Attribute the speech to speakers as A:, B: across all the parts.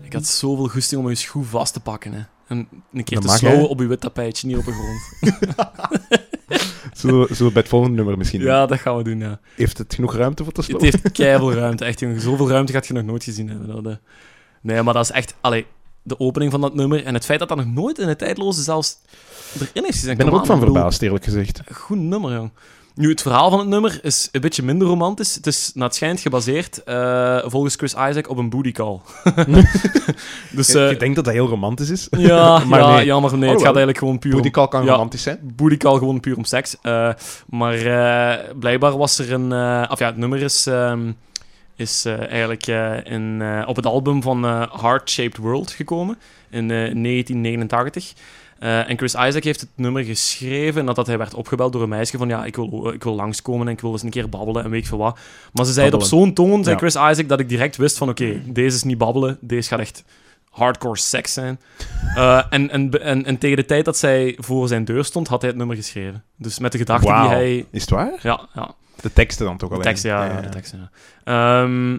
A: Ik had zoveel goesting om een schoen vast te pakken. Hè. En een keer
B: Dat
A: te
B: mag,
A: slowen
B: hè?
A: op je wit tapijtje, niet op de grond.
B: Zullen we, zullen we bij het volgende nummer misschien doen?
A: ja, dat gaan we doen, ja.
B: Heeft het genoeg ruimte voor te
A: Het
B: slopen?
A: heeft keiveel ruimte, echt jongen. Zoveel ruimte gaat je nog nooit gezien hebben. Dat, eh. Nee, maar dat is echt... Allee, de opening van dat nummer en het feit dat dat nog nooit in de tijdloze zelfs erin is gezien.
B: Ik ben er ook van verbaasd, eerlijk gezegd.
A: Goed nummer, jong. Nu, het verhaal van het nummer is een beetje minder romantisch. Het is, naar het schijnt, gebaseerd eh, volgens Chris Isaac op een booty call. dus, eh,
B: ik denk dat dat heel romantisch is.
A: ja,
B: maar
A: ja,
B: nee.
A: ja, maar nee, het
B: Oh, wel.
A: gaat eigenlijk gewoon puur om-
B: Booty call kan
A: Ja.
B: romantisch zijn.
A: booty call gewoon puur om seks. Eh, maar eh, blijkbaar was er een... eh of ja, het nummer is, ehm, is eh, eigenlijk eh, in, eh, op het album van eh Heart Shaped World gekomen in eh, 1989. Eh, en Chris Isaac heeft het nummer geschreven nadat hij werd opgebeld door een meisje van ja, ik wil, eh, ik wil langskomen en ik wil eens een keer babbelen en weet ik veel wat. Maar ze zei het op
B: Babbelen.
A: zo'n toon, zei
B: Ja.
A: Chris Isaac, dat ik direct wist van oké, deze is niet babbelen, deze gaat echt hardcore seks zijn. Eh, en, en, en, en tegen de tijd dat zij voor zijn deur stond, had hij het nummer geschreven. Dus met de gedachte
B: Wauw.
A: die hij...
B: Is het waar?
A: Ja, ja.
B: De teksten dan toch
A: De
B: alleen?
A: tekst, ja. ja, De tekst, ja. Ehm,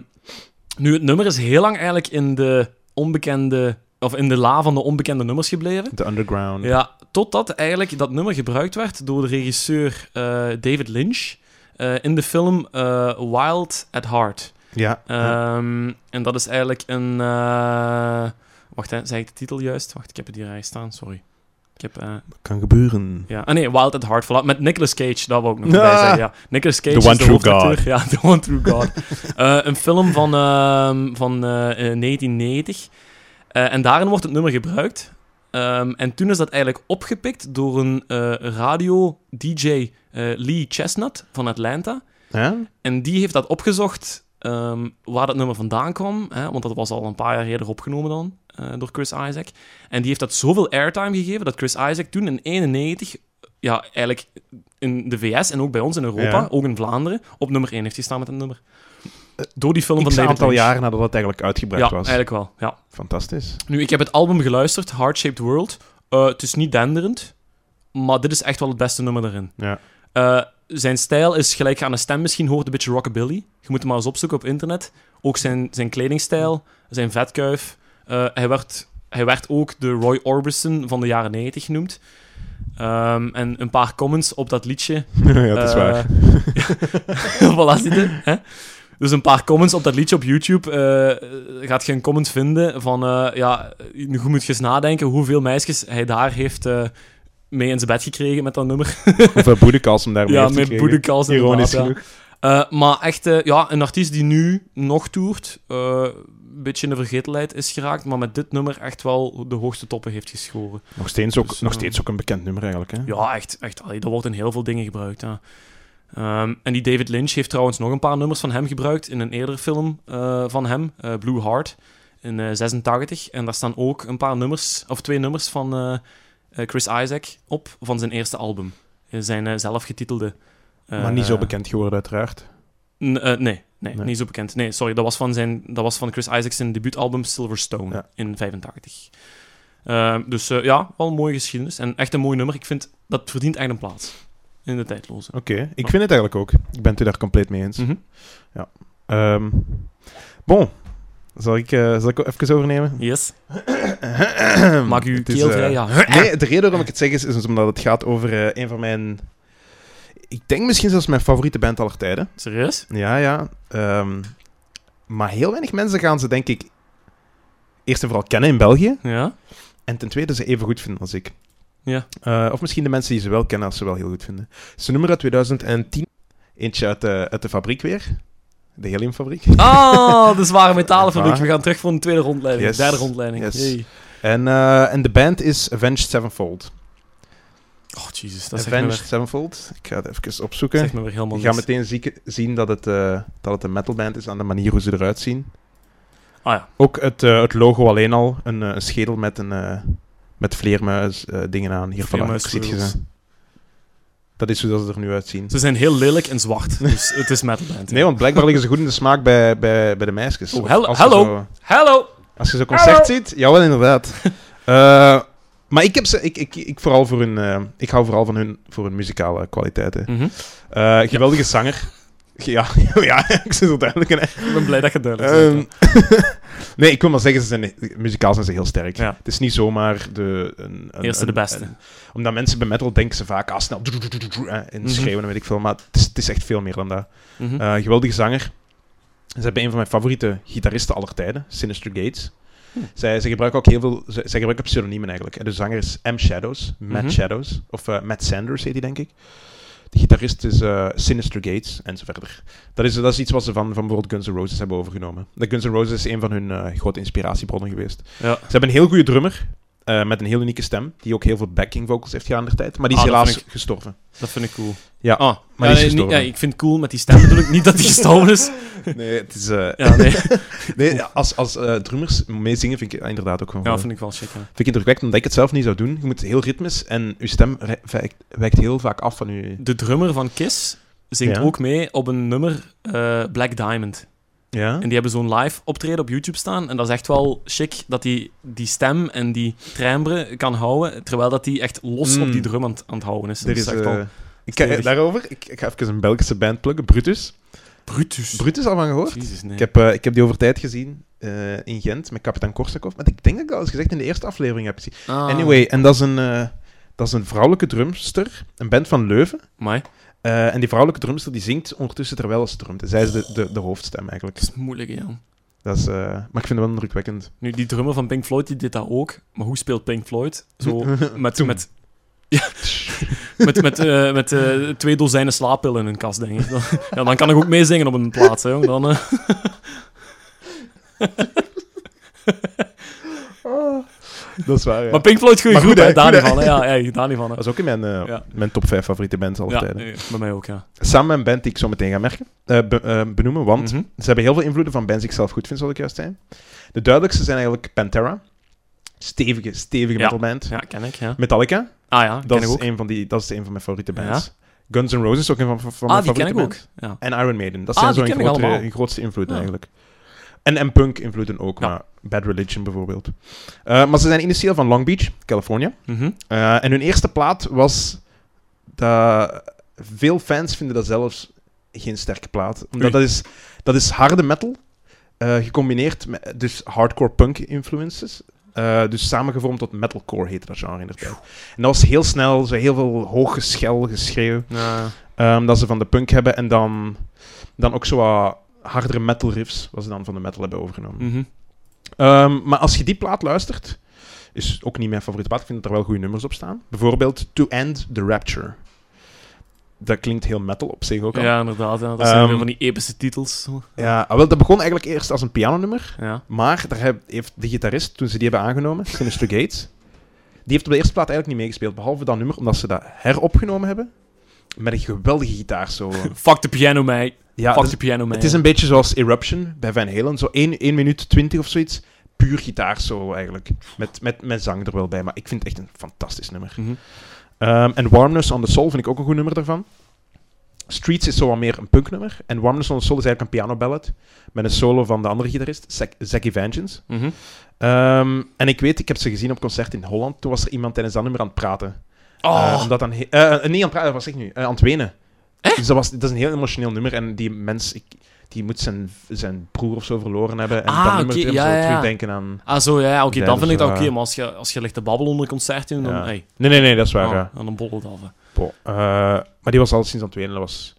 A: nu, het nummer is heel lang eigenlijk in de onbekende... Of in de la van de onbekende nummers gebleven.
B: De underground.
A: Ja, totdat eigenlijk dat nummer gebruikt werd door de regisseur eh, David Lynch eh, in de film eh, Wild at Heart.
B: Ja.
A: Ehm, En dat is eigenlijk een. eh, Wacht, hè, zei ik de titel juist? Wacht, ik heb het hier eigenlijk staan, sorry. Ik heb. eh,
B: Kan gebeuren.
A: ja. Ah nee, Wild at Heart, voilà. Met Nicolas Cage, dat wou ik nog
B: Ja.
A: bij zeggen. Ja. Nicolas Cage
B: The
A: is
B: one
A: de
B: true
A: hoofdacteur. Ja, The One True God. Eh, een film van, ehm, van eh, eh, 1990. Eh, en daarin wordt het nummer gebruikt. Ehm, en toen is dat eigenlijk opgepikt door een eh, radio-dj eh, Lee Chestnut van Atlanta.
B: Ja?
A: En die heeft dat opgezocht ehm, waar dat nummer vandaan kwam. Hè, want dat was al een paar jaar eerder opgenomen dan eh, door Chris Isaac. En die heeft dat zoveel airtime gegeven dat Chris Isaac toen in 91, ja, eigenlijk in de VS en ook bij ons in Europa,
B: Ja.
A: ook in Vlaanderen, op nummer 1 heeft gestaan met dat nummer. Door die film
B: X
A: van David
B: aantal
A: Lynch.
B: jaren nadat het eigenlijk uitgebracht
A: Ja,
B: was.
A: eigenlijk wel. Ja.
B: Fantastisch.
A: Nu, ik heb het album geluisterd, Heart Shaped World. Eh, het is niet denderend, maar dit is echt wel het beste nummer daarin.
B: Ja.
A: Eh, zijn stijl is gelijk je aan de stem misschien hoort, een beetje rockabilly. Je moet hem maar eens opzoeken op internet. Ook zijn, zijn kledingstijl, zijn vetkuif. Eh, hij, werd, hij werd ook de Roy Orbison van de jaren 90 genoemd. Ehm, en een paar comments op dat liedje.
B: ja, dat is
A: eh,
B: waar.
A: voilà, zie je, hè? Dus een paar comments op dat liedje op YouTube. eh, gaat je een comment vinden van... eh, ja, nu moet je eens nadenken hoeveel meisjes hij daar heeft eh, mee in zijn bed gekregen met dat nummer.
B: Hoeveel boedekals hem eh, daarmee
A: Ja,
B: heeft
A: met
B: gekregen.
A: Boedekals inderdaad,
B: Ironisch
A: ja.
B: genoeg.
A: Eh, maar echt, eh, ja, een artiest die nu nog toert, eh, een beetje in de vergetelheid is geraakt, maar met dit nummer echt wel de hoogste toppen heeft geschoren.
B: Nog steeds ook,
A: Dus,
B: nog
A: eh,
B: steeds ook een bekend nummer eigenlijk. Hè?
A: Ja, echt, echt allee, dat wordt in heel veel dingen gebruikt. Ja. Ehm, en die David Lynch heeft trouwens nog een paar nummers van hem gebruikt in een eerdere film eh, van hem, eh, Blue Heart, in eh 86. En daar staan ook een paar nummers, of twee nummers van eh, eh, Chris Isaac op van zijn eerste album. Eh, Zijn eh, zelfgetitelde. eh,
B: maar niet zo bekend geworden, uiteraard.
A: N- eh, nee, nee,
B: Nee.
A: niet zo bekend. Nee, sorry, dat was van, zijn, dat was van Chris Isaacs zijn debuutalbum Silverstone
B: Ja.
A: in 85. Ehm, dus eh, ja, wel een mooie geschiedenis. En echt een mooi nummer. Ik vind, dat verdient echt een plaats. In de tijdloze.
B: Oké, ik vind het eigenlijk ook. Ik ben het u daar compleet mee eens.
A: Mhm.
B: Ehm, bon, zal ik, eh, zal ik ook even overnemen?
A: Yes. Maak uw
B: Het is,
A: keel
B: eh,
A: vrij, ja.
B: Nee, de reden waarom ik het zeg is, is omdat het gaat over eh, een van mijn... Ik denk misschien zelfs mijn favoriete band aller tijden.
A: Serieus?
B: Ja, ja. Ehm, maar heel weinig mensen gaan ze, denk ik, eerst en vooral kennen in België.
A: Ja?
B: En ten tweede ze even goed vinden als ik.
A: Ja.
B: Eh, of misschien de mensen die ze wel kennen als ze wel heel goed vinden. Het is een nummer uit 2010. Eentje uit de, uit de fabriek weer. De Heliumfabriek.
A: Ah, de zware metalenfabriek. We gaan terug voor een tweede rondleiding.
B: Yes.
A: Derde rondleiding.
B: Yes.
A: Jee.
B: En, eh, en de band is Avenged Sevenfold.
A: Oh, jezus. Dat zegt me,
B: Avenged
A: weer,
B: Sevenfold. Ik ga het even opzoeken.
A: zegt me weer helemaal
B: Je gaat
A: niks.
B: meteen zieke- zien dat het, eh, dat het een metalband is aan de manier hoe ze eruit zien.
A: Ah ja.
B: Ook het, eh, het logo alleen al. Een, eh, een schedel met, een, eh, met vleermuis eh, dingen aan. Hier vanaf
A: Vleermuis
B: ziet je
A: squirrels.
B: ze. Dat is hoe dat ze er nu uitzien.
A: Ze zijn heel lelijk en zwart. Dus het is metalband. ja.
B: Nee, want blijkbaar liggen ze goed in de smaak bij, bij, bij de meisjes.
A: Oh, hel-
B: Als je
A: hallo.
B: zo-
A: Hallo!
B: als je zo'n concert ziet, jawel, inderdaad. Eh, maar ik, heb ze, ik, ik, ik, vooral voor
A: Hm.
B: hun, eh, ik hou vooral van hun, voor hun muzikale kwaliteiten.
A: Mhm.
B: Eh, geweldige zanger. Ja, ja ik zit zo duidelijk. in, hè.
A: Ik ben blij dat je het duidelijk bent.
B: Ehm, nee, ik wil maar zeggen, ze zijn, muzikaal zijn ze heel sterk.
A: Ja.
B: Het is niet zomaar de... Een, een-
A: Eerste de
B: een-
A: beste.
B: een- omdat mensen bij metal denken ze vaak, ah, snel, eh, en schreeuwen en weet ik veel. Maar het is, het is echt veel meer dan dat.
A: Mhm.
B: Eh, geweldige zanger. Ze hebben een van mijn favoriete gitaristen aller tijden, Sinister Gates.
A: Hm.
B: Zij, zij gebruiken ook heel veel... Zij, zij gebruiken pseudoniemen eigenlijk. En de zanger is M. Shadows. Matt
A: Mhm.
B: Shadows. Of eh, Matt Sanders heet hij, denk ik. De gitarist is eh, Sinister Gates, en zo verder. Dat is, dat is iets wat ze van, van bijvoorbeeld Guns N' Roses hebben overgenomen. De Guns N' Roses is een van hun eh, grote inspiratiebronnen geweest.
A: Ja.
B: Ze hebben een heel goede drummer, eh, met een heel unieke stem, die ook heel veel backing vocals heeft gedaan in de tijd. Maar die is
A: Ah, dat
B: helaas
A: vind
B: gestorven.
A: Dat vind ik cool.
B: Ja,
A: Ah,
B: maar
A: ja,
B: die is
A: nee, niet-
B: gestorven.
A: ja, ik vind het cool met die stem natuurlijk niet dat hij gestorven is.
B: Nee, het is... eh,
A: Ja, nee.
B: Nee, ja, als, als eh, drummers meezingen vind ik eh, inderdaad ook wel.
A: ja,
B: vind...
A: vind ik wel shit. Ja.
B: ik indrukwekkend omdat ik het zelf niet zou doen. Je moet heel ritmisch en je stem re- wijkt, wijkt heel vaak af van je.
A: De drummer van Kiss zingt
B: Ja.
A: ook mee op een nummer eh, Black Diamond.
B: Ja?
A: En die hebben zo'n live optreden op YouTube staan. En dat is echt wel chic dat hij die stem en die timbre kan houden. Terwijl dat hij echt los
B: Mm.
A: op die drum aan, het- aan het houden is.
B: Er
A: dat
B: is,
A: is echt
B: eh,
A: wel
B: ik, eh,
A: stevig.
B: daarover, ik, ik ga even een Belgische band pluggen, Brutus.
A: Brutus.
B: Brutus al van gehoord?
A: Jezus, nee.
B: Ik heb, eh, ik heb die over tijd gezien eh, in Gent met kapitein Korsakov. Maar ik denk dat ik dat al eens gezegd in de eerste aflevering heb gezien.
A: Ah.
B: Anyway, en dat is, een, eh, dat is een vrouwelijke drumster, een band van Leuven.
A: Amai,
B: Eh, en die vrouwelijke drumster die zingt ondertussen terwijl ze drumt. En zij is de, de, de hoofdstem eigenlijk.
A: dat is moeilijk, ja.
B: Dat is, eh, maar ik vind het wel indrukwekkend.
A: Nu, die drummer van Pink Floyd die deed dat ook. Maar hoe speelt Pink Floyd? Zo met,
B: Toen.
A: met, met, met, eh, met eh, twee dozijnen slaappillen in een kast, denk ik. Dan, ja, dan kan ik ook meezingen op een plaats. Hè, jong. dan, eh,
B: Dat is waar, ja.
A: Maar Pink Floyd, goeie
B: Maar
A: groep,
B: goed, hè,
A: hè. Daar niet
B: goed, hè.
A: van, hè. Ja, ja, daar niet van, hè.
B: Dat is ook in mijn, eh,
A: Ja.
B: mijn top 5 favoriete bands aller
A: Ja,
B: tijden.
A: eh, bij mij ook, ja.
B: Samen met een band die ik zo meteen ga merken, eh, be- eh, benoemen, want
A: Mhm.
B: ze hebben heel veel invloeden van bands die ik zelf goed vind, zal ik juist zijn. De duidelijkste zijn eigenlijk Pantera. Stevige, stevige
A: Ja.
B: metalband.
A: Ja, ken ik, ja.
B: Metallica,
A: Ah ja,
B: dat
A: ken ik
B: is,
A: ook.
B: een van die, dat is een van mijn favoriete bands. Guns N' Roses, ook een van, van mijn
A: Ah, die ken
B: favoriete
A: ik ook.
B: bands.
A: Ja.
B: En Iron Maiden, dat
A: Ah,
B: zijn
A: die
B: zo'n
A: ken ik
B: grote-
A: allemaal.
B: hun grootste invloeden
A: Ja.
B: eigenlijk. En, en punk invloeden ook,
A: Ja.
B: maar Bad Religion bijvoorbeeld. Eh, maar ze zijn initieel van Long Beach, California.
A: Mhm.
B: Eh, en hun eerste plaat was dat veel fans vinden dat zelfs geen sterke plaat. Omdat
A: Oei.
B: dat is, dat is harde metal, eh, gecombineerd met dus hardcore punk influences. Eh, dus samengevormd tot metalcore heette dat genre inderdaad. En dat was heel snel, zo heel veel hoog geschel, geschreeuw,
A: Ja.
B: ehm, dat ze van de punk hebben. En dan, dan ook zo wat hardere metal riffs, wat ze dan van de metal hebben overgenomen.
A: Mhm.
B: Ehm, maar als je die plaat luistert, is ook niet mijn favoriete plaat. Ik vind dat er wel goede nummers op staan. Bijvoorbeeld To End the Rapture. Dat klinkt heel metal op zich ook al. Ja,
A: ja, inderdaad. ja. Dat zijn
B: Ehm,
A: weer van die epische titels. zo.
B: ah, wel, dat begon eigenlijk eerst als een pianonummer.
A: Ja.
B: Maar daar heb- heeft de gitarist, toen ze die hebben aangenomen, Sinister Gates, die heeft op de eerste plaat eigenlijk niet meegespeeld. Behalve dat nummer, omdat ze dat heropgenomen hebben. Met een geweldige gitaarsolo.
A: Fuck the piano, mate.
B: Ja,
A: Fuck
B: dat-
A: the piano, mate.
B: het is een beetje zoals Eruption bij Van Halen. Zo 1, minuut 20 of zoiets. Puur gitaarsolo eigenlijk. Met, met, met zang er wel bij. Maar ik vind het echt een fantastisch nummer.
A: Mhm.
B: Ehm, en Warmness on the Soul vind ik ook een goed nummer daarvan. Streets is zo wat meer een punknummer. En Warmness on the Soul is eigenlijk een pianoballad. Met een solo van de andere gitarist, Zac- Zacky Vengeance.
A: Mhm.
B: Ehm, en ik weet, ik heb ze gezien op concert in Holland. Toen was er iemand tijdens dat nummer aan het praten. Eh,
A: Oh,
B: omdat dan he- eh, eh, niet aan het praten, was ik nu? Eh, aan het wenen. Dus dat, was, dat is een heel emotioneel nummer. En die mens, ik, die moet zijn, zijn broer of zo verloren hebben. En
A: Ah,
B: dat nummer
A: oké,
B: doet hem
A: ja,
B: zo
A: ja.
B: terugdenken aan...
A: ah, zo, ja, ja, oké,
B: Ja,
A: dan vind
B: dus,
A: ik dat
B: eh,
A: oké, maar als je, als je ligt te babbelen onder een concert in, dan,
B: Ja. eh.
A: hey,
B: Nee, nee, nee, dat is waar.
A: oh,
B: ja.
A: dan een bolle af. hè.
B: Bo- eh, maar die was al sinds aan het wenen. Dat was...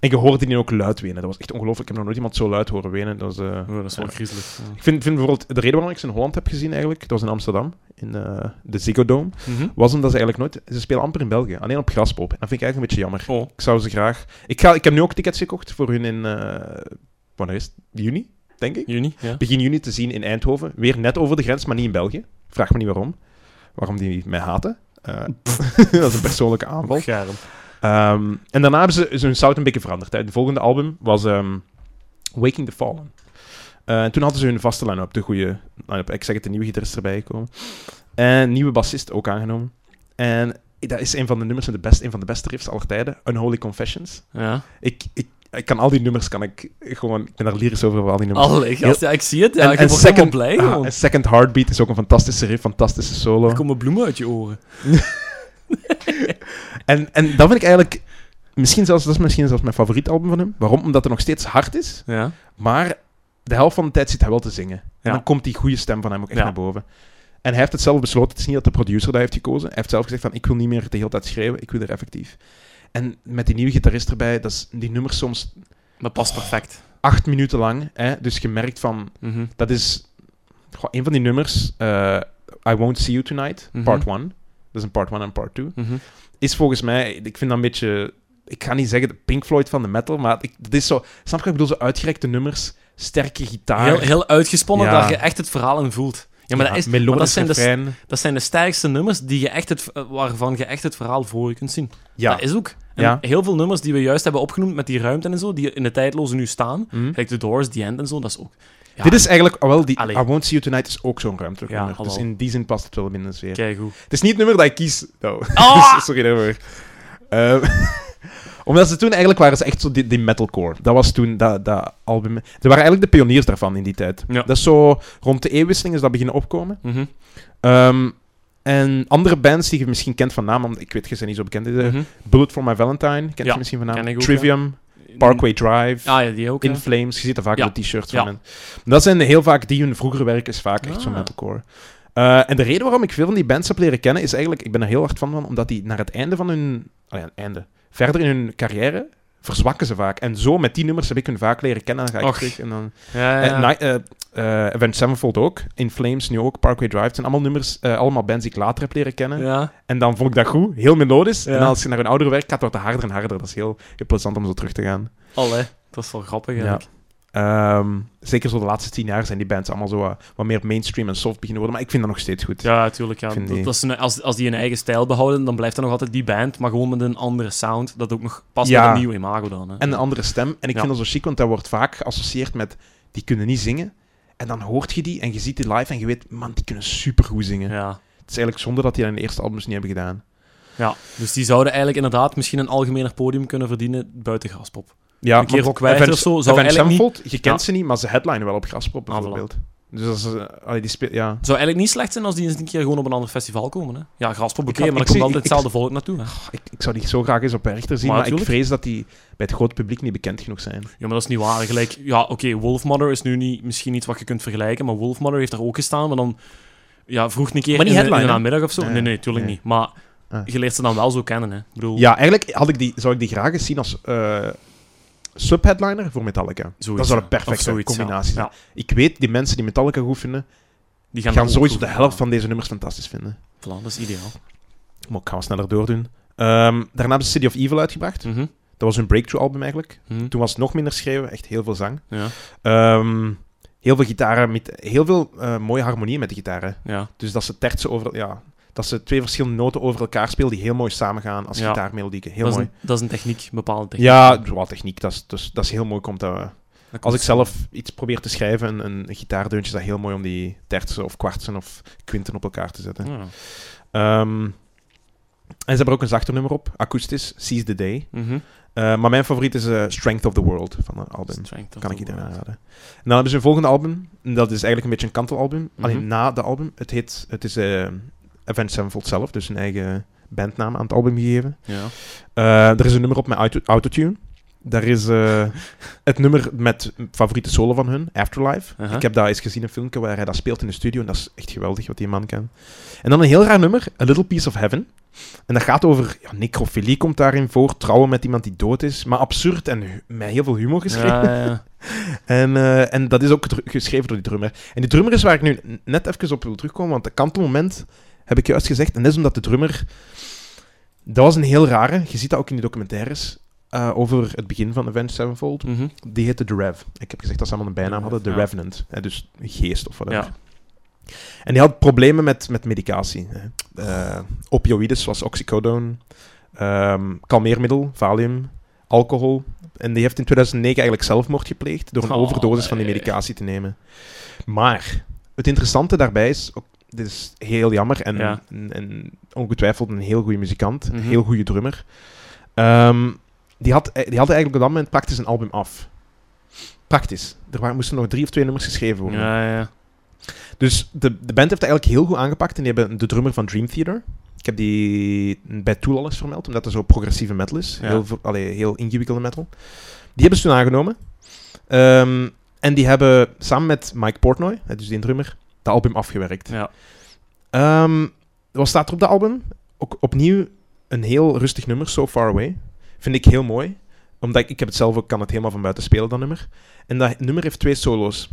B: En je hoorde die ook luid wenen. Dat was echt ongelooflijk. Ik heb nog nooit iemand zo luid horen wenen. Dat was, eh,
A: Oh, dat is wel
B: ja.
A: griezelig. Ja.
B: Ik vind, vind bijvoorbeeld... De reden waarom ik ze in Holland heb gezien eigenlijk, dat was in Amsterdam, in eh, de Ziggo Dome,
A: Mhm.
B: was omdat ze eigenlijk nooit... Ze spelen amper in België, alleen op Graspop. En dat vind ik eigenlijk een beetje jammer.
A: Oh,
B: Ik zou ze graag. Ik, ga, ik heb nu ook tickets gekocht voor hun in. eh, wanneer is het? Juni, denk ik.
A: juni, ja.
B: Begin juni te zien in Eindhoven. Weer net over de grens, maar niet in België. Vraag me niet waarom. Waarom die mij haten. Eh, dat is een persoonlijke aanval.
A: Scherm.
B: Ehm, en daarna hebben ze ze hun sound een beetje veranderd. Hè. Het volgende album was ehm, Waking the Fallen. Eh, en toen hadden ze hun vaste line-up, de goede line-up. Ik zeg het, de nieuwe gitarist erbij gekomen. En een nieuwe bassist ook aangenomen. En eh, dat is een van de nummers en de best, een van de beste riffs aller tijden. Unholy Confessions.
A: Ja.
B: Ik, ik, ik kan al die nummers, kan ik gewoon... Ik ben daar lyrisch over, over al die nummers.
A: Allee, gast, ja, ik zie het. Ja,
B: En-
A: ik
B: en
A: word helemaal blij,
B: ah,
A: gewoon.
B: en Second Heartbeat is ook een fantastische riff, fantastische solo.
A: Er komen bloemen uit je oren.
B: En, en dat vind ik eigenlijk Misschien zelfs, dat is misschien zelfs mijn favoriet album van hem. Waarom? Omdat het nog steeds hard is,
A: Ja.
B: maar de helft van de tijd zit hij wel te zingen. En
A: Ja.
B: dan komt die goede stem van hem ook echt
A: Ja.
B: naar boven. En hij heeft het zelf besloten. Het is niet dat de producer dat heeft gekozen. Hij heeft zelf gezegd van, ik wil niet meer de hele tijd schreeuwen. Ik wil er effectief. En met die nieuwe gitarist erbij, dat is die nummers soms
A: Dat past perfect.
B: acht minuten lang. Hè? Dus je merkt van,
A: Mhm.
B: dat is goh, een van die nummers, eh, I Won't See You Tonight,
A: Mhm.
B: part 1. Dat is een part 1 en part 2.
A: Mhm.
B: Is volgens mij, ik vind dat een beetje, ik ga niet zeggen de Pink Floyd van de metal, maar ik, dat is zo, snap je? wat Ik bedoel, zo uitgerekte nummers, sterke gitaar.
A: Heel, heel uitgesponnen,
B: Ah, Ja.
A: dat je echt het verhaal in voelt. Ja, maar dat, is, maar dat,
B: melodisch
A: zijn dus- de,
B: refrein.
A: dat zijn de sterkste nummers die je echt het, eh, waarvan je echt het verhaal voor je kunt zien.
B: Ja.
A: Dat is ook. En
B: Ja.
A: Heel veel nummers die we juist hebben opgenoemd met die ruimte en zo, die in de tijdloze nu staan.
B: Mhm.
A: Kijk, The Doors, The End en zo, dat is ook... Ja,
B: Dit is eigenlijk, oh, wel, die
A: Allee.
B: I Won't See You Tonight is ook zo'n ruimtelijk
A: Ja,
B: nummer. Dus
A: hallo.
B: in die zin past het wel binnen de sfeer.
A: Keigoed.
B: Het is niet het nummer dat ik kies. Nou,
A: Ah!
B: dus sorry daarvoor. Ehm, omdat ze toen eigenlijk waren ze echt zo die, die metalcore. Dat was toen dat, dat album. Ze waren eigenlijk de pioniers daarvan in die tijd.
A: Ja.
B: Dat is zo rond de eeuwwisseling is dat beginnen opkomen.
A: Mhm,
B: Ehm, en andere bands die je misschien kent van naam, want ik weet, je zijn niet zo bekend. eh,
A: mhm.
B: Bullet for My Valentine, kent
A: Ja,
B: je misschien van naam.
A: ken ik ook,
B: Trivium, Parkway Drive,
A: Ah ja, die ook.
B: In
A: ja.
B: Flames. Je ziet er vaak
A: Ja.
B: op t-shirts
A: Ja.
B: van hen. Dat zijn heel vaak die hun vroegere werk is vaak echt zo'n
A: Ah.
B: metalcore. Eh, en de reden waarom ik veel van die bands heb leren kennen is eigenlijk, ik ben er heel hard van, van omdat die naar het einde van hun, oh ja, het einde, verder in hun carrière verzwakken ze vaak. En zo met die nummers heb ik hun vaak leren kennen. Dan ga ik
A: Och.
B: terug en dan.
A: Ja, ja,
B: Eh,
A: ja.
B: Ni- eh, eh, Avenged Sevenfold ook, In Flames nu ook, Parkway Drive. Het zijn allemaal nummers, eh, allemaal bands die ik later heb leren kennen.
A: Ja.
B: En dan vond ik dat goed, heel melodisch.
A: Ja.
B: En als je naar hun oudere werk gaat, wordt het harder en harder. Dat is heel, heel plezant om zo terug te gaan.
A: Allee, dat is wel grappig
B: Ja.
A: eigenlijk.
B: Ehm, zeker zo de laatste tien jaar zijn die bands allemaal zo eh, wat, wat meer mainstream en soft beginnen worden. Maar ik vind dat nog steeds goed.
A: Ja, tuurlijk. Ja.
B: Ik vind
A: Dat,
B: die-
A: dat is een- als, als die een eigen stijl behouden, dan blijft dat nog altijd die band, maar gewoon met een andere sound, dat ook nog past
B: Ja.
A: bij een nieuwe imago dan. Hè.
B: En een andere stem. En ik
A: Ja.
B: vind dat zo chic, want dat wordt vaak geassocieerd met die kunnen niet zingen. En dan hoort je die en je ziet die live en je weet, man, die kunnen supergoed zingen.
A: Ja.
B: Het is eigenlijk zonde dat die dat in de eerste albums niet hebben gedaan.
A: ja, dus die zouden eigenlijk inderdaad misschien een algemener podium kunnen verdienen buiten Graspop.
B: Ja,
A: Een keer
B: want
A: ook kwijt
B: Avenged-
A: of zo, zou
B: Avenged
A: eigenlijk
B: Sevenfold, je kent
A: Ja.
B: ze niet, maar ze headlinen wel op Graspop
A: Ah, voilà.
B: bijvoorbeeld. Dus dat is... eh, allee, die speel, ja.
A: Het zou eigenlijk niet slecht zijn als die eens een keer gewoon op een ander festival komen. Hè? Ja, Graspop,
B: Ik
A: oké,
B: had-
A: maar
B: ik
A: er komt
B: zie-
A: altijd
B: ik-
A: hetzelfde volk naartoe. Hè?
B: Goh, ik, ik zou die zo graag eens op Werchter zien,
A: Maar
B: maar, ik
A: natuurlijk.
B: vrees dat die bij het grote publiek niet bekend genoeg zijn.
A: Ja, maar dat is niet waar. Gelijk, ja, oké, Wolfmother is nu niet, misschien iets wat je kunt vergelijken, maar Wolfmother heeft daar ook gestaan, maar dan ja, vroeg een keer
B: Maar niet
A: in, de- in de
B: headline, hè?
A: namiddag of zo.
B: Nee,
A: Nee, nee, tuurlijk
B: nee.
A: niet. Maar
B: Ah.
A: je leert ze dan wel zo kennen, hè. Ik bedoel,
B: Ja, eigenlijk had ik die, zou ik die graag eens zien als eh subheadliner voor Metallica.
A: zoiets,
B: dat zou
A: ja.
B: een
A: Of
B: perfecte
A: zoiets, ja.
B: combinatie zijn.
A: Ja.
B: Ik weet, die mensen die Metallica goed vinden,
A: Die gaan,
B: gaan
A: ook
B: sowieso de
A: goed
B: helft
A: gaan.
B: van deze nummers fantastisch vinden.
A: Voilà, dat is ideaal.
B: Maar ik ga wel sneller doordoen. Ehm, daarna hebben ze City of Evil uitgebracht.
A: Mhm,
B: Dat was hun breakthrough album eigenlijk.
A: mhm.
B: Toen was het nog minder schreeuwen, echt heel veel zang.
A: Ja,
B: Ehm, heel veel gitaren, met, heel veel eh, mooie harmonieën met de gitaren.
A: ja.
B: Dus dat ze tertsen over... Ja, dat ze twee verschillende noten over elkaar spelen die heel mooi samengaan als
A: Ja.
B: gitaarmelodieken. Heel
A: dat,
B: mooi.
A: Is een, dat is een techniek, een bepaalde techniek.
B: Ja, wat techniek. Dat is, dus, dat is heel mooi. Komt dat,
A: Dat
B: als ik
A: komt-
B: zelf iets probeer te schrijven, een, een, een gitaardeuntje, is dat heel mooi om die tertsen of kwartsen of kwinten op elkaar te zetten.
A: Ja.
B: Ehm, en ze hebben er ook een zachter nummer op, akoestisch, Seize the Day.
A: Mhm.
B: Eh, maar mijn favoriet is eh, Strength of the World van het album.
A: Strength of
B: Kan
A: the
B: ik iedereen
A: World.
B: aanraden. En dan hebben ze een volgende album. En dat is eigenlijk een beetje een kantelalbum. Alleen
A: Mhm.
B: na de album. Het, heet, het is eh Avenged Sevenfold zelf, dus hun eigen bandnaam aan het album gegeven.
A: Ja.
B: Eh, er is een nummer op met auto- autotune. Daar is eh, het nummer met favoriete solo van hun, Afterlife.
A: Aha.
B: Ik heb daar eens gezien, een filmpje waar hij dat speelt in de studio. En dat is echt geweldig wat die man kan. En dan een heel raar nummer, A Little Piece of Heaven. En dat gaat over, ja, necrofilie komt daarin voor, trouwen met iemand die dood is. Maar absurd en hu- met heel veel humor geschreven.
A: Ja, ja, ja.
B: En, eh, en dat is ook gedru- geschreven door die drummer. En die drummer is waar ik nu n- net even op wil terugkomen, want dat kantelmoment heb ik juist gezegd. En dat is omdat de drummer... Dat was een heel rare. Je ziet dat ook in die documentaires eh, over het begin van Avenged Sevenfold.
A: Mhm.
B: Die heette The Rev. Ik heb gezegd dat ze allemaal een bijnaam
A: The Rev,
B: hadden. The
A: ja.
B: Revenant. Hè, dus geest of whatever.
A: Ja.
B: En die had problemen met, met medicatie. Hè. Eh, opioïden zoals oxycodone, ehm, kalmeermiddel, valium, alcohol. En die heeft in 2009 eigenlijk zelfmoord gepleegd door een
A: Oh,
B: overdosis van die
A: nee.
B: medicatie te nemen. Maar het interessante daarbij is, ook- dit is heel jammer en,
A: Ja.
B: en, en ongetwijfeld een heel goede muzikant,
A: Mhm.
B: een heel goede drummer. Ehm, die, had, die hadden eigenlijk op dat moment praktisch een album af. Praktisch. Er waren, moesten nog drie of twee nummers geschreven worden.
A: Ja, ja, ja.
B: Dus de, de band heeft het eigenlijk heel goed aangepakt. En die hebben de drummer van Dream Theater, Ik heb die bij Tool al eens vermeld, omdat dat zo progressieve metal is.
A: Ja.
B: Heel, ver- allee, heel ingewikkelde metal. Die hebben ze toen aangenomen. Ehm, en die hebben samen met Mike Portnoy, hè, dus die drummer, dat album afgewerkt.
A: Ja.
B: Ehm, wat staat er op dat album? Ook opnieuw een heel rustig nummer, So Far Away. Vind ik heel mooi. Omdat ik, ik heb het zelf ook, kan het helemaal van buiten spelen, dat nummer. En dat nummer heeft twee solo's.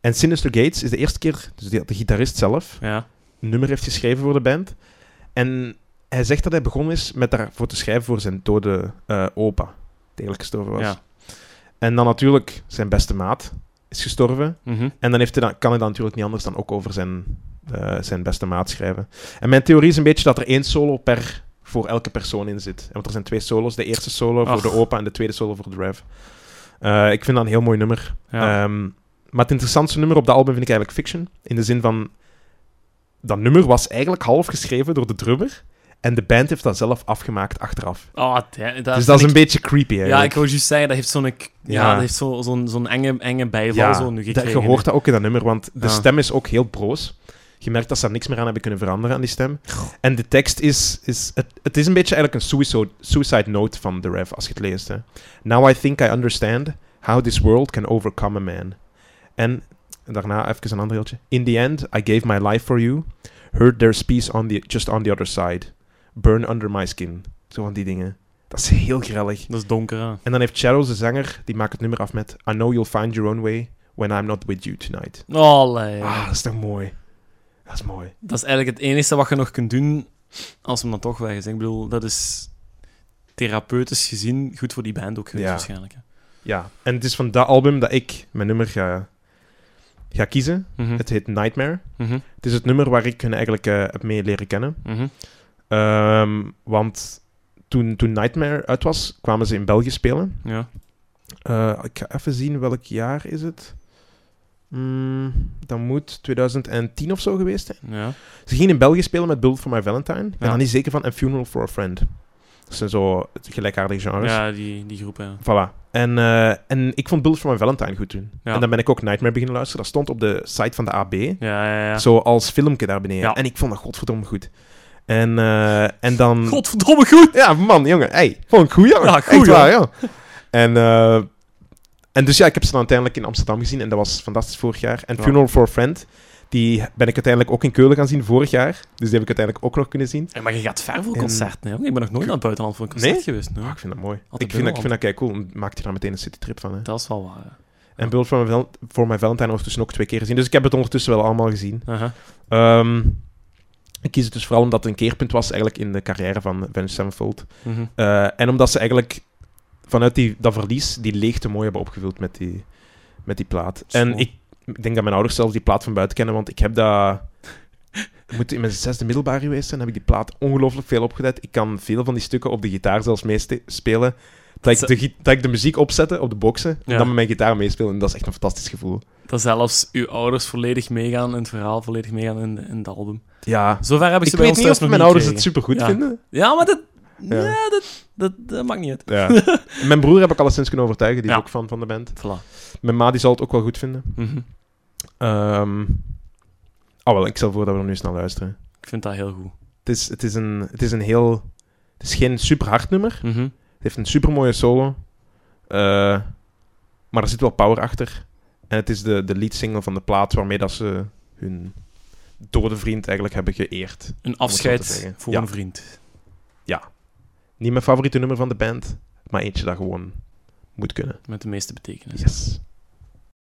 B: En Sinister Gates is de eerste keer, dus die, de gitarist zelf,
A: Ja.
B: een nummer heeft geschreven voor de band. En hij zegt dat hij begonnen is met daarvoor te schrijven voor zijn dode eh, opa, die eigenlijk gestorven was.
A: ja.
B: En dan natuurlijk zijn beste maat is gestorven.
A: Mhm.
B: En dan, heeft hij dan kan hij dan natuurlijk niet anders dan ook over zijn, eh, zijn beste maat schrijven. En mijn theorie is een beetje dat er één solo per voor elke persoon in zit. En Want er zijn twee solos. De eerste solo voor
A: Ach.
B: de opa en de tweede solo voor de rev. Eh, ik vind dat een heel mooi nummer.
A: ja.
B: Ehm, maar het interessantste nummer op de album vind ik eigenlijk Fiction. In de zin van... Dat nummer was eigenlijk half geschreven door de drummer. En de band heeft dat zelf afgemaakt achteraf.
A: oh, da- dat
B: dus dat
A: vind
B: is een beetje creepy
A: ik-
B: eigenlijk.
A: Ja, ik wou juist zeggen, dat heeft zo'n... k- Ja,
B: Ja.
A: dat heeft zo- zo'n zo'n enge, enge bijval zo nu
B: dat,
A: gekregen.
B: je hoort dat ook in dat nummer, want de
A: Ja.
B: stem is ook heel broos. Je merkt dat ze daar niks meer aan hebben kunnen veranderen aan die stem. En de tekst is... is het, het is een beetje eigenlijk een suicide, suicide note van de ref, als je het leest. Hè. Now I think I understand how this world can overcome a man. En daarna even een ander deeltje. In the end, I gave my life for you. Heard there's peace on the, just on the other side. Burn under my skin. Zo van die dingen. Dat is heel grellig.
A: Dat is donker, hè.
B: En dan heeft Shadows, de zanger, die maakt het nummer af met I know you'll find your own way when I'm not with you tonight.
A: Allee.
B: Ah, dat is toch mooi. Dat is mooi.
A: Dat is eigenlijk het enige wat je nog kunt doen als hem dan toch weg is. Ik bedoel, dat is therapeutisch gezien goed voor die band ook geweest
B: Ja.
A: waarschijnlijk. hè.
B: Ja, en het is van dat album dat ik mijn nummer ga, ga kiezen.
A: Mhm.
B: Het heet Nightmare.
A: Mhm.
B: Het is het nummer waar ik hun eigenlijk eh, heb mee leren kennen.
A: Mhm.
B: Ehm, want toen, toen Nightmare uit was, kwamen ze in België spelen.
A: Ja.
B: Eh, ik ga even zien welk jaar is het. Mm, dat moet 2010 of zo geweest zijn.
A: Ja.
B: Ze gingen in België spelen met Bullet for My Valentine. En
A: Ja.
B: dan niet zeker van A Funeral for a Friend. Dat zijn zo gelijkaardige genres.
A: ja, die, die groep, ja.
B: Voilà. En, eh, en ik vond Bullet for My Valentine goed toen.
A: Ja.
B: En dan ben ik ook Nightmare beginnen luisteren. Dat stond op de site van de AB.
A: Ja, ja, ja.
B: Zo als filmpje daar beneden.
A: Ja.
B: En ik vond dat godverdomme goed. En, eh, en dan...
A: Godverdomme goed!
B: Ja, man, jongen. Hey, vond ik goed, jongen.
A: Ja, goed,
B: Echt waar, ja. En, eh, en dus ja, ik heb ze dan uiteindelijk in Amsterdam gezien. En dat was fantastisch vorig jaar. En
A: Ja.
B: Funeral for a Friend, die ben ik uiteindelijk ook in Keulen gaan zien vorig jaar. Dus die heb ik uiteindelijk ook nog kunnen zien.
A: Hey, maar je gaat ver voor
B: En-
A: concerten, hè? Ik ben nog nooit naar het buitenland voor een concert
B: Nee?
A: geweest. nee.
B: Ah, ik vind dat mooi.
A: Altijd
B: Ik vind dat, ik
A: binnenland.
B: vind dat kei cool. Maakt je daar meteen een citytrip van, hè.
A: Dat is wel waar. hè.
B: En Bullet for My, Val- for My Valentine ondertussen ook twee keer gezien. Dus ik heb het ondertussen wel allemaal gezien.
A: Aha.
B: Ehm, ik kies het dus vooral omdat het een keerpunt was eigenlijk in de carrière van Avenged Sevenfold.
A: Mhm.
B: Eh, en omdat ze eigenlijk vanuit die, dat verlies die leegte mooi hebben opgevuld met die, met die plaat.
A: Zo.
B: En ik denk dat mijn ouders zelfs die plaat van buiten kennen, want ik heb dat... Ik moet in mijn zesde middelbaar geweest zijn, heb ik die plaat ongelooflijk veel opgelet. Ik kan veel van die stukken op de gitaar zelfs meespelen. Dat ik, de, gi- dat ik de muziek opzette op de boxen en
A: Ja.
B: dan met mijn gitaar meespelen. En dat is echt een fantastisch gevoel.
A: Dat zelfs uw ouders volledig meegaan in het verhaal, volledig meegaan in, in het album.
B: Ja.
A: Zover hebben
B: Ik
A: ze bij
B: weet
A: ons
B: niet of
A: thuis nog
B: mijn ouders het
A: gekregen.
B: supergoed
A: Ja.
B: vinden.
A: Ja, maar dat...
B: Ja.
A: Ja, dat, dat, dat maakt niet uit.
B: Ja. mijn broer heb ik alleszins kunnen overtuigen, die
A: Ja.
B: is ook fan van de band.
A: Voilà.
B: Mijn ma die zal het ook wel goed vinden.
A: Mhm.
B: Ehm ah, wel, ik stel voor dat we er nu snel luisteren.
A: Ik vind dat heel goed.
B: Het is, het is, een, het is een heel... Het is geen super hard nummer.
A: Mhm.
B: Het heeft een super mooie solo. Eh, maar er zit wel power achter. En het is de, de lead single van de plaat waarmee dat ze hun dode vriend eigenlijk hebben geëerd.
A: Een
B: zo te
A: afscheid
B: zeggen.
A: voor
B: Ja.
A: een vriend.
B: Niet mijn favoriete nummer van de band, maar eentje dat gewoon moet kunnen.
A: Met de meeste betekenis.
B: Yes.